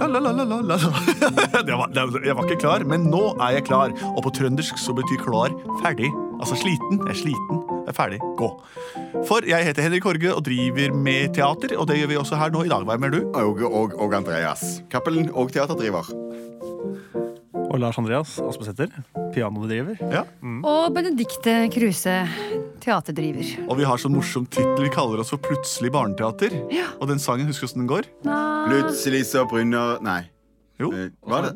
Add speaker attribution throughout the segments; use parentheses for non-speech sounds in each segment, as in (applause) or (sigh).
Speaker 1: La-la-la-la-la. (laughs) Det var- det- Jeg var ikke klar, men nå er jeg klar. Og på trøndersk så betyr klar ferdig. Altså sliten. Jeg er sliten. Jeg er ferdig. Gå. For jeg heter Henrik Horge og driver med teater, og det gjør vi også her nå i dag. Hva mener du?
Speaker 2: Auge og, og Andreas. Cappelen og teaterdriver.
Speaker 3: Og Lars Andreas Aspesæter, pianodriver.
Speaker 1: Ja.
Speaker 4: Og Benedicte Kruse, teaterdriver.
Speaker 1: Og vi har sånn morsom tittel. Vi kaller oss for Plutselig barneteater.
Speaker 4: Ja.
Speaker 1: Og den sangen, husker du hvordan den går?
Speaker 2: Plutselig så brynner Nei.
Speaker 1: Jo.
Speaker 2: Eh, Hva er det?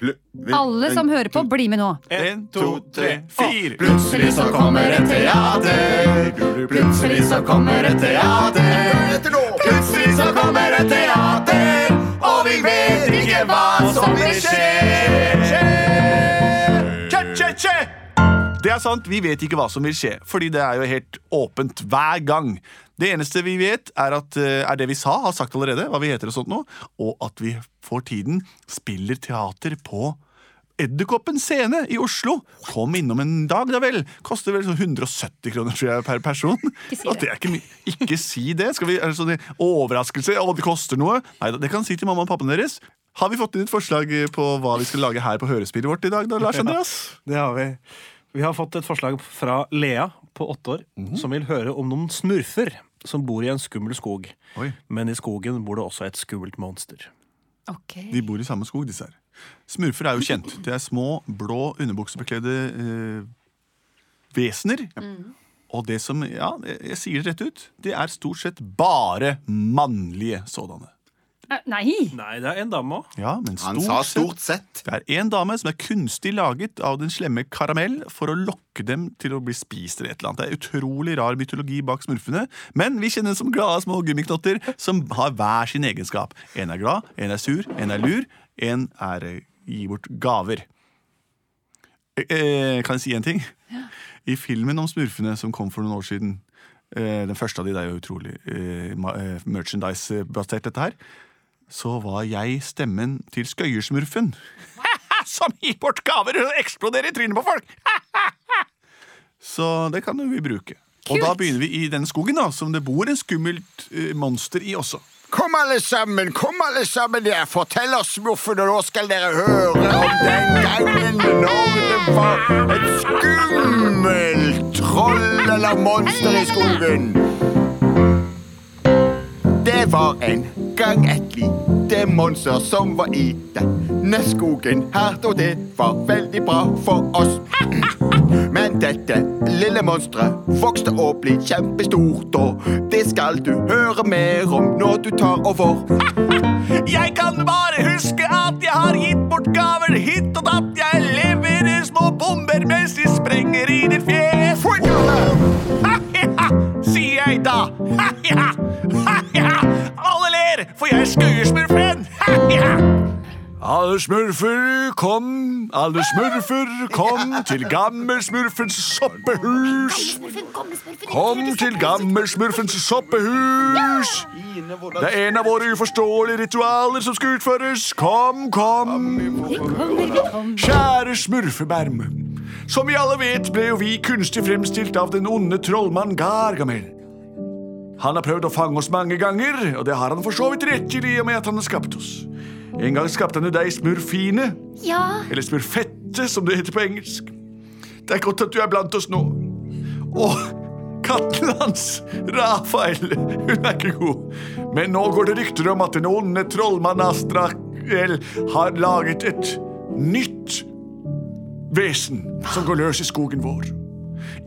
Speaker 2: Plu- vi-
Speaker 4: Alle som
Speaker 2: en-
Speaker 4: hører på, bli med nå.
Speaker 1: En, to, tre, fire.
Speaker 2: Plutselig så kommer et teater. Plutselig så kommer et teater. Plutselig så kommer et teater, og vi vet ikke hva som vil
Speaker 1: şey.
Speaker 2: skje.
Speaker 1: Det er sant, vi vet ikke hva som vil skje, fordi det er jo helt åpent hver gang. Det eneste vi vet, er, at, eh, er det vi sa, har sagt allerede, hva vi heter og sånt nå, og at vi for tiden spiller teater på Edderkoppen scene i Oslo. Kom innom en dag, da vel. Koster vel sånn 170 kroner tror jeg, per person.
Speaker 4: Ikke si
Speaker 1: Og er ikke, mye. ikke si det. Skal vi, er det sånn Overraskelse, og det koster noe. Nei, det kan si til mamma og pappaen deres. Har vi fått inn et forslag på hva vi skal lage her på hørespillet vårt i dag, da, Lars Andreas?
Speaker 3: Det har vi. Vi har fått et forslag fra Lea på åtte år, som vil høre om noen smurfer som bor i en skummel skog.
Speaker 1: Oi.
Speaker 3: Men i skogen bor det også et skummelt monster.
Speaker 4: Ok.
Speaker 1: De bor i samme skog, disse her. Smurfer er jo kjent. Det er små, blå, underbuksebekledde eh, vesener.
Speaker 2: Mm.
Speaker 1: Og det som Ja, jeg, jeg sier det rett ut. Det er stort sett bare mannlige sådanne.
Speaker 4: Eh, Nei!
Speaker 3: Nei, det er en dame òg.
Speaker 1: Ja, men stort
Speaker 2: Han sa
Speaker 1: sett
Speaker 2: stort sett.
Speaker 1: det er en dame som er kunstig laget av den slemme karamell for å lokke dem til å bli spist eller et eller annet. Det er utrolig rar mytologi bak smurfene, men vi kjenner dem som glade små gummiknotter som har hver sin egenskap. En er glad, en er sur, en er lur, en er eh, gir bort gaver. Eh, eh, kan jeg si en ting? I filmen om smurfene som kom for noen år siden eh, Den første av de, det er jo utrolig eh, ma- eh, merchandise-basert dette her Så var jeg stemmen til skøyersmurfen (laughs) Som gir bort gaver og eksploderer i trynet på folk (laughs) Så det kan jo vi bruke Og da
Speaker 4: Kult.
Speaker 1: begynner vi i denne skogen da Som det bor en skummelt eh, monster i også
Speaker 2: Kom alle sammen, kom alle sammen der. Fortell oss smurfen, og nå skal dere høre om den gangen når det var et skummelt troll eller monster i skogen. Det var en gang et lite monster som var i denne skogen her, og det var veldig bra for oss. (laughs) Men dette lille monsteret vokste og ble kjempestort, og det skal du høre mer om når du tar over. (laughs)
Speaker 1: Jeg kan bare huske at jeg har gitt bort gaver hit og datt. Jeg leverer små bomber mens de sprenger i ditt fjes. Ha-ha, (laughs) sier jeg da. (laughs) Ha-ha, ha-ha. Alle ler, for jeg er skuesmurfen. Ha-ha. (laughs) Alle smurfer kom, alle smurfer kom til gammelsmurfens soppehus. Kom til gammelsmurfens soppehus. Det er en av våre uforståelige ritualer som skal utføres. Kom, kom,
Speaker 4: Kommer vi kom.
Speaker 1: kjære smurfeberm. Som vi alle vet, ble jo vi kunstig fremstilt av den onde trollmann Gargamel. Han har prøvd å fange oss mange ganger, og det har han for så vidt rett til i og med at han har skapt oss. En gang skapte han jo deg, smurfine,
Speaker 4: Ja.
Speaker 1: eller smurfette, som det heter på engelsk. Det er godt at du er blant oss nå. Og katten hans, Rafael, hun er ikke god. Men nå går det rykter om at den onde trollmannen Astrael har laget et nytt vesen som går løs i skogen vår.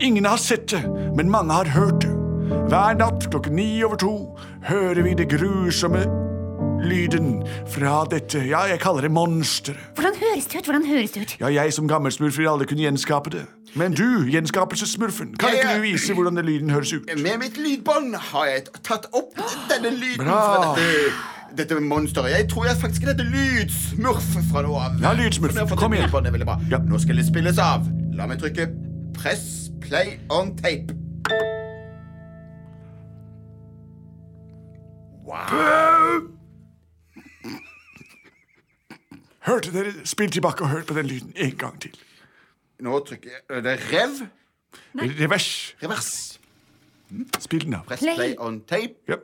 Speaker 1: Ingen har sett det, men mange har hørt det. Hver natt klokken ni over to hører vi det grusomme lyden fra dette, ja, jeg kaller det monsteret.
Speaker 4: Hvordan høres det ut? Hvordan høres det ut?
Speaker 1: Ja, jeg som gammel smurf vil aldri kunne gjenskape det. Men du, gjenskapelsessmurfen, kan ikke du vise hvordan den lyden høres ut?
Speaker 2: Med mitt lydbånd har jeg tatt opp denne lyden
Speaker 1: Bra.
Speaker 2: fra dette, dette monsteret. Jeg tror jeg faktisk er dette lydsmurf fra nå av.
Speaker 1: Ja, lydsmurf.
Speaker 2: Som jeg har fått
Speaker 1: Kom
Speaker 2: dette
Speaker 1: igjen.
Speaker 2: lydbåndet veldig bra.
Speaker 1: Ja.
Speaker 2: Nå skal det spilles av. La meg trykke press, play on tape.
Speaker 1: Hørte dere? Spill tilbake og hør på den lyden en gang til.
Speaker 2: Nå trykker jeg Er det rev.
Speaker 1: Revers.
Speaker 2: Revers.
Speaker 1: Spill den av.
Speaker 2: Press,
Speaker 4: Play.
Speaker 2: play on tape.
Speaker 1: Ja.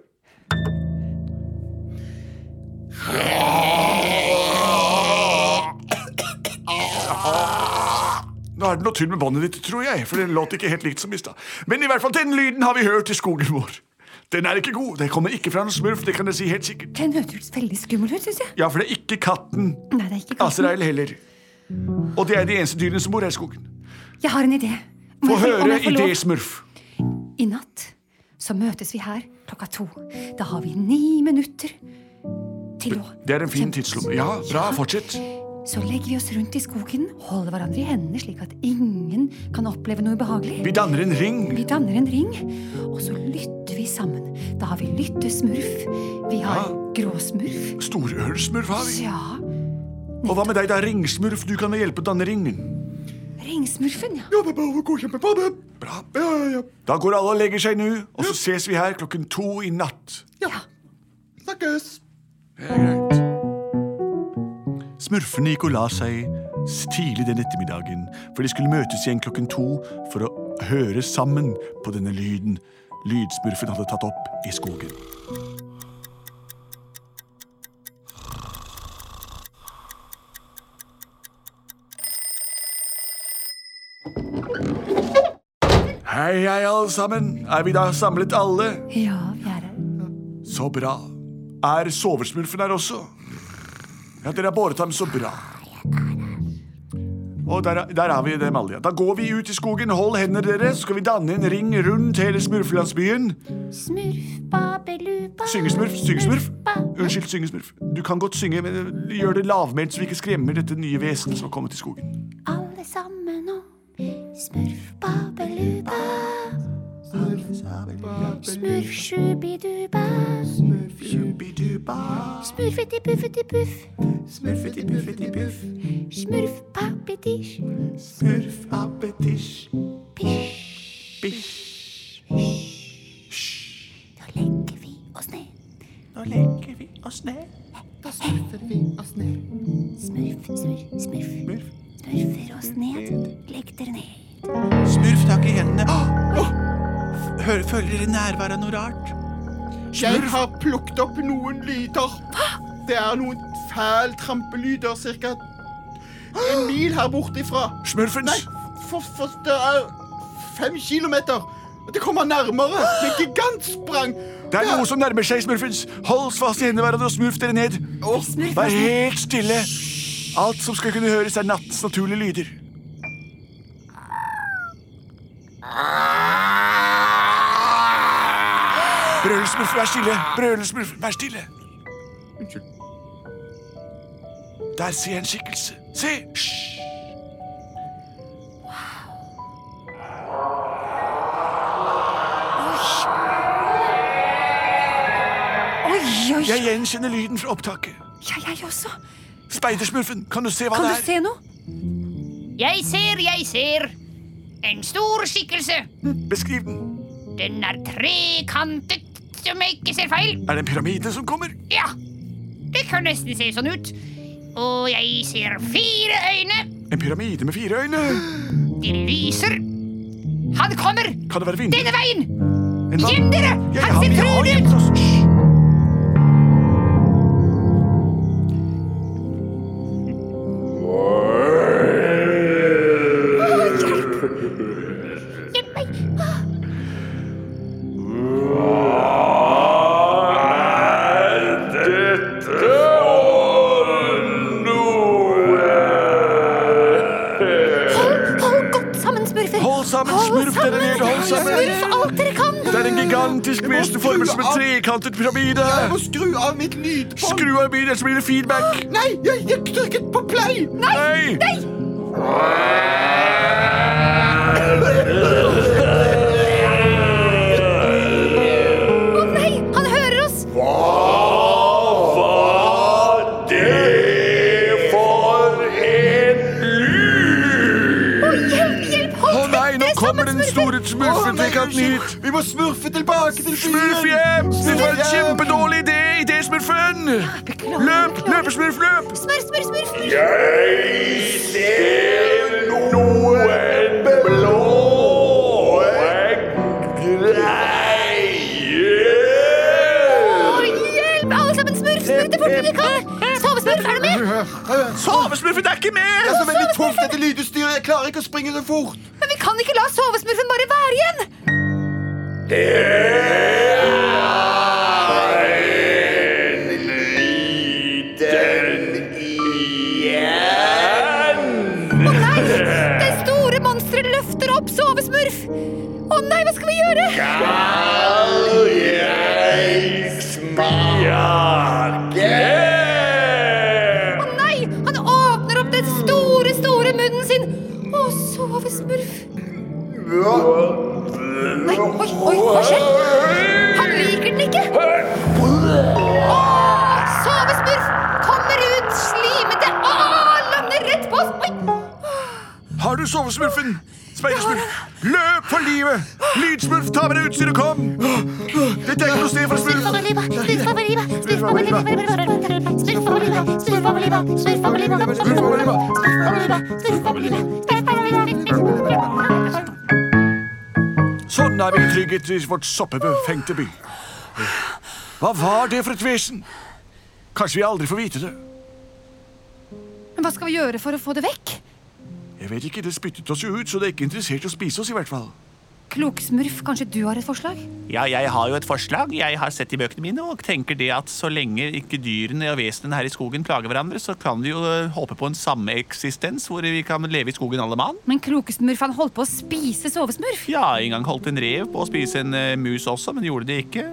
Speaker 1: var det noe tull med båndet ditt, tror jeg. For det låt ikke helt likt som i stad. Men i hvert fall den lyden har vi hørt i skogen vår. Den er ikke god. Den kommer ikke fra en smurf, det kan jeg si helt sikkert.
Speaker 4: Den hørtes veldig skummel ut, syns jeg.
Speaker 1: Ja, for det er ikke katten
Speaker 4: Nei, det er ikke katten.
Speaker 1: Azrael heller. Og det er de eneste dyrene som bor her i skogen.
Speaker 4: Jeg har en idé. Om
Speaker 1: Få
Speaker 4: jeg får- om
Speaker 1: høre
Speaker 4: jeg får lov-
Speaker 1: idésmurf.
Speaker 4: I natt så møtes vi her klokka to. Da har vi ni minutter til å
Speaker 1: Det er en fin tidslomme. Ja, bra, fortsett.
Speaker 4: Så legger vi oss rundt i skogen, holder hverandre i hendene slik at ingen kan oppleve noe ubehagelig.
Speaker 1: Vi danner en ring.
Speaker 4: Vi danner en ring, og så lytter vi sammen. Da har vi lyttesmurf. Vi har gråsmurf.
Speaker 1: Storølsmurf har vi.
Speaker 4: Ja,
Speaker 1: Og hva med deg, da? Ringsmurf, du kan hjelpe å danne ringen.
Speaker 4: ringsmurfen, ja.
Speaker 1: Bra. Da går alle og legger seg nå, og så ses vi her klokken to i natt.
Speaker 4: ja.
Speaker 2: Snakkes.
Speaker 1: Det er greit. Smurfene gikk og la seg s- tidlig den ettermiddagen, for de skulle møtes igjen klokken to for å høre sammen på denne lyden lydsmurfen hadde tatt opp i skogen. Hei, hei, alle sammen. Er vi da samlet alle?
Speaker 4: Ja, vi er her.
Speaker 1: Så bra. Er soversmurfen her også? Ja, dere har båret ham så bra. Og der, der har vi dem alle. ja. Da går vi ut i skogen. Hold hendene dere, så skal vi danne en ring rundt hele smurfelandsbyen.
Speaker 4: Smurf, babeluba
Speaker 1: Syngesmurf, syngesmurf. Unnskyld, syngesmurf. Du kan godt synge, men eh, gjør det lavmælt, så vi ikke skremmer dette nye vesenet som har kommet i skogen.
Speaker 4: Alle sammen nå. Smurf, babeluba. Smurf, sjubiduba. Smurfeti, puffeti, puff. Smurf, pappetisj. Nå legger vi oss ned. Nå legger vi oss ned. Da smurfer vi oss ned. Smurf, smurf, smurf. Smurfer oss ned. Legg dere ned.
Speaker 5: Smurf tak i hendene. Åh! Hører, føler dere nærvær av noe rart?
Speaker 2: Jeg har plukket opp noen lyder. Det er noen fæl trampelyder cirka en mil her bortifra. Nei,
Speaker 1: Smurfens!
Speaker 2: for, for det er fem kilometer. Det kommer nærmere. Med gigantsprang.
Speaker 1: Det er noe som nærmer seg, Smurfens. Hold fast i hendene hverandre og smurf dere ned.
Speaker 4: Smurf,
Speaker 1: Vær helt stille. Alt som skal kunne høres, er nattens naturlige lyder. Brølesmurf, vær stille. Brølesmurf, vær stille.
Speaker 2: Unnskyld.
Speaker 1: Der ser jeg en skikkelse. Se! Hysj!
Speaker 4: Oi, oi,
Speaker 1: Jeg gjenkjenner lyden fra opptaket.
Speaker 4: Ja, jeg også.
Speaker 1: Speidersmurfen, kan du se hva
Speaker 4: Kan
Speaker 1: det
Speaker 4: du
Speaker 1: er?
Speaker 4: se noe?
Speaker 6: Jeg ser, jeg ser. En stor skikkelse.
Speaker 1: Beskriv den.
Speaker 6: Den er trekantet, om jeg ikke ser feil.
Speaker 1: Er det en pyramide som kommer?
Speaker 6: Ja, det kan nesten se sånn ut. Og jeg ser fire øyne.
Speaker 1: En pyramide med fire øyne?
Speaker 6: De lyser. Han kommer
Speaker 1: Kan det være vindu?
Speaker 6: denne veien!
Speaker 1: En vann?
Speaker 6: Gjem dere!
Speaker 1: Jeg
Speaker 6: Han
Speaker 1: har-
Speaker 6: ser
Speaker 1: vi har
Speaker 6: truende
Speaker 1: gjemt
Speaker 6: ut!
Speaker 1: oss. Hysj!
Speaker 6: Gjem meg!
Speaker 4: Hold, hold godt sammen, smurfer.
Speaker 1: Hold sammen, smurf, dere ned, hold sammen.
Speaker 4: Smurf alt dere kan.
Speaker 1: altså- Det er en gigantisk vesen formet som en trekantet pyramide.
Speaker 2: Jeg må skru av mitt lydbånd.
Speaker 1: Skru av bilen, ellers blir det feedback.
Speaker 2: Nei, jeg, jeg trykket på play.
Speaker 1: Nei!
Speaker 4: Å nei, han hører oss. Å, hjelp, hjelp,
Speaker 1: Å
Speaker 4: hold
Speaker 1: nei, nå
Speaker 4: dere
Speaker 1: kommer
Speaker 4: sammen,
Speaker 1: den store
Speaker 4: smurfer.
Speaker 2: Å, nei,
Speaker 1: smurfetrekanten hit.
Speaker 2: Vi må smurfe tilbake til byen.
Speaker 1: Smurf hjem! Det var en
Speaker 2: Smurf hjem.
Speaker 1: kjempedårlig idé, idésmurfen!
Speaker 4: Beklager,
Speaker 1: Løp,
Speaker 4: beklager.
Speaker 1: løpesmurf, løp!
Speaker 4: Smurf, smurf, smurf. smurf. Å, hjelp, alle sammen, smurf, smurf det fortere dere kan. Sove, Sovesmurf, er du med?
Speaker 1: Sovesmurfen er ikke
Speaker 2: Det
Speaker 1: med!
Speaker 2: er så veldig tungt, dette lydutstyret. Jeg klarer ikke å springe så fort.
Speaker 4: Men vi kan ikke la sovesmurfen bare være igjen! Å nei! Det store monsteret løfter opp sovesmurf! Å nei, hva skal vi gjøre? Å nei! Han åpner opp den store, store munnen sin. Å, sovesmurf. Nei, oi, oi, hva skjer? Han liker den ikke. Å, sovesmurf kommer ut slimete. Å, lander rett på oss. Oi.
Speaker 1: Har du sovesmurfen? Speidersmurf, løp for livet! Lydsmurf, ta med deg utstyret og kom! Det er ikke noe sted for smurf! Sånn er vi trygget i vårt soppebefengte by. Hva var det for et vesen? Kanskje vi aldri får vite det.
Speaker 4: Men hva skal vi gjøre for å få det vekk?
Speaker 1: Jeg vet ikke, Det spyttet oss jo ut, så det er ikke interessert i å spise oss. i hvert fall.
Speaker 4: Kloksmurf, kanskje du har et forslag?
Speaker 5: Ja, jeg har jo et forslag. Jeg har sett i bøkene mine og tenker det at så lenge ikke dyrene og vesenene her i skogen plager hverandre, så kan vi jo eh, håpe på en sameksistens hvor vi kan leve i skogen alle mann.
Speaker 4: Men klokesmurf, han holdt på å spise sovesmurf.
Speaker 5: Ja, en gang holdt en rev på å spise en eh, mus også, men gjorde det ikke.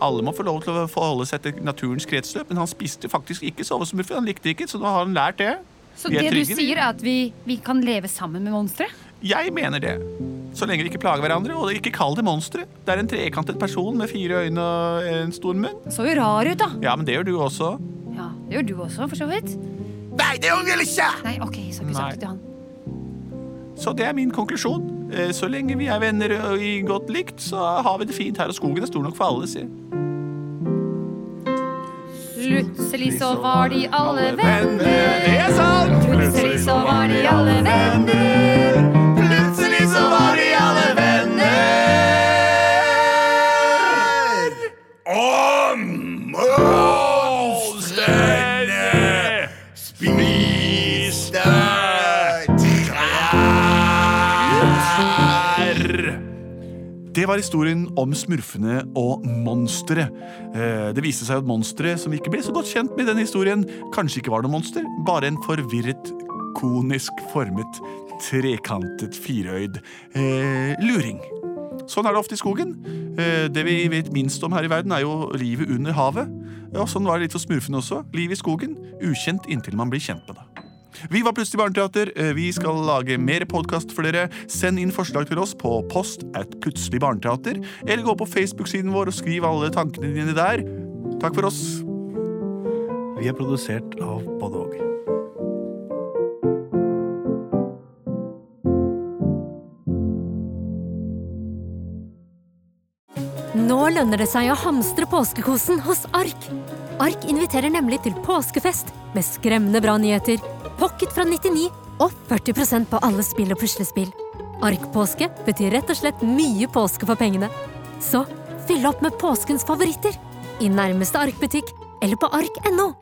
Speaker 5: Alle må få lov til å forholde seg til naturens kretsløp, men han spiste faktisk ikke sovesmurfer. Han likte det ikke, så nå har han lært det.
Speaker 4: Så
Speaker 5: Vi
Speaker 4: det
Speaker 5: er
Speaker 4: du
Speaker 5: trygge, vi.
Speaker 4: sier, er at vi, vi kan leve sammen med monsteret?
Speaker 5: Jeg mener det. Så lenge vi ikke plager hverandre, og ikke kall det monstre. Det er en trekantet person med fire øyne og en stor munn.
Speaker 4: Så jo rar ut, da.
Speaker 5: Ja, men det gjør du også.
Speaker 4: Ja, Det gjør du også, for så vidt.
Speaker 2: Nei, det gjør jeg ikke!
Speaker 4: Nei, ok, så har vi
Speaker 5: Nei.
Speaker 4: sagt det til han.
Speaker 5: Så det er min konklusjon. Eh, Så lenge vi er venner og i godt likt, så har vi det fint her, og skogen er stor nok for alle, sier
Speaker 4: Plutselig så var de alle venner.
Speaker 1: Det er sant!
Speaker 4: Plutselig så var de alle venner.
Speaker 1: Plutselig så var de alle venner.
Speaker 2: Om monstrene spiste
Speaker 1: R. Det var historien om smurfene og monsteret. Eh, Det viste seg at monsteret, som ikke ble så godt kjent med i denne historien, kanskje ikke var noe monster, bare en forvirret, konisk formet, trekantet, firøyd eh, luring. Sånn er det ofte i skogen. Eh, Det vi vet minst om her i verden, er jo livet under havet. Og sånn var det litt for smurfene også. Liv i skogen. Ukjent inntil man blir kjent med det. Vi var Plutselig barneteater. Eh, Vi skal lage mer podkast for dere. Send inn forslag til oss på post at plutselig barneteater, eller gå på Facebook-siden vår og skriv alle tankene dine der. Takk for oss.
Speaker 3: Vi er produsert av både og.
Speaker 7: Nå lønner det seg å hamstre påskekosen hos Ark. Ark inviterer nemlig til påskefest med skremmende bra nyheter, pocket fra 99 og 40 på alle spill og puslespill. Ark-påske betyr rett og slett mye påske for pengene. Så fyll opp med påskens favoritter i nærmeste Ark-butikk eller på ark.no.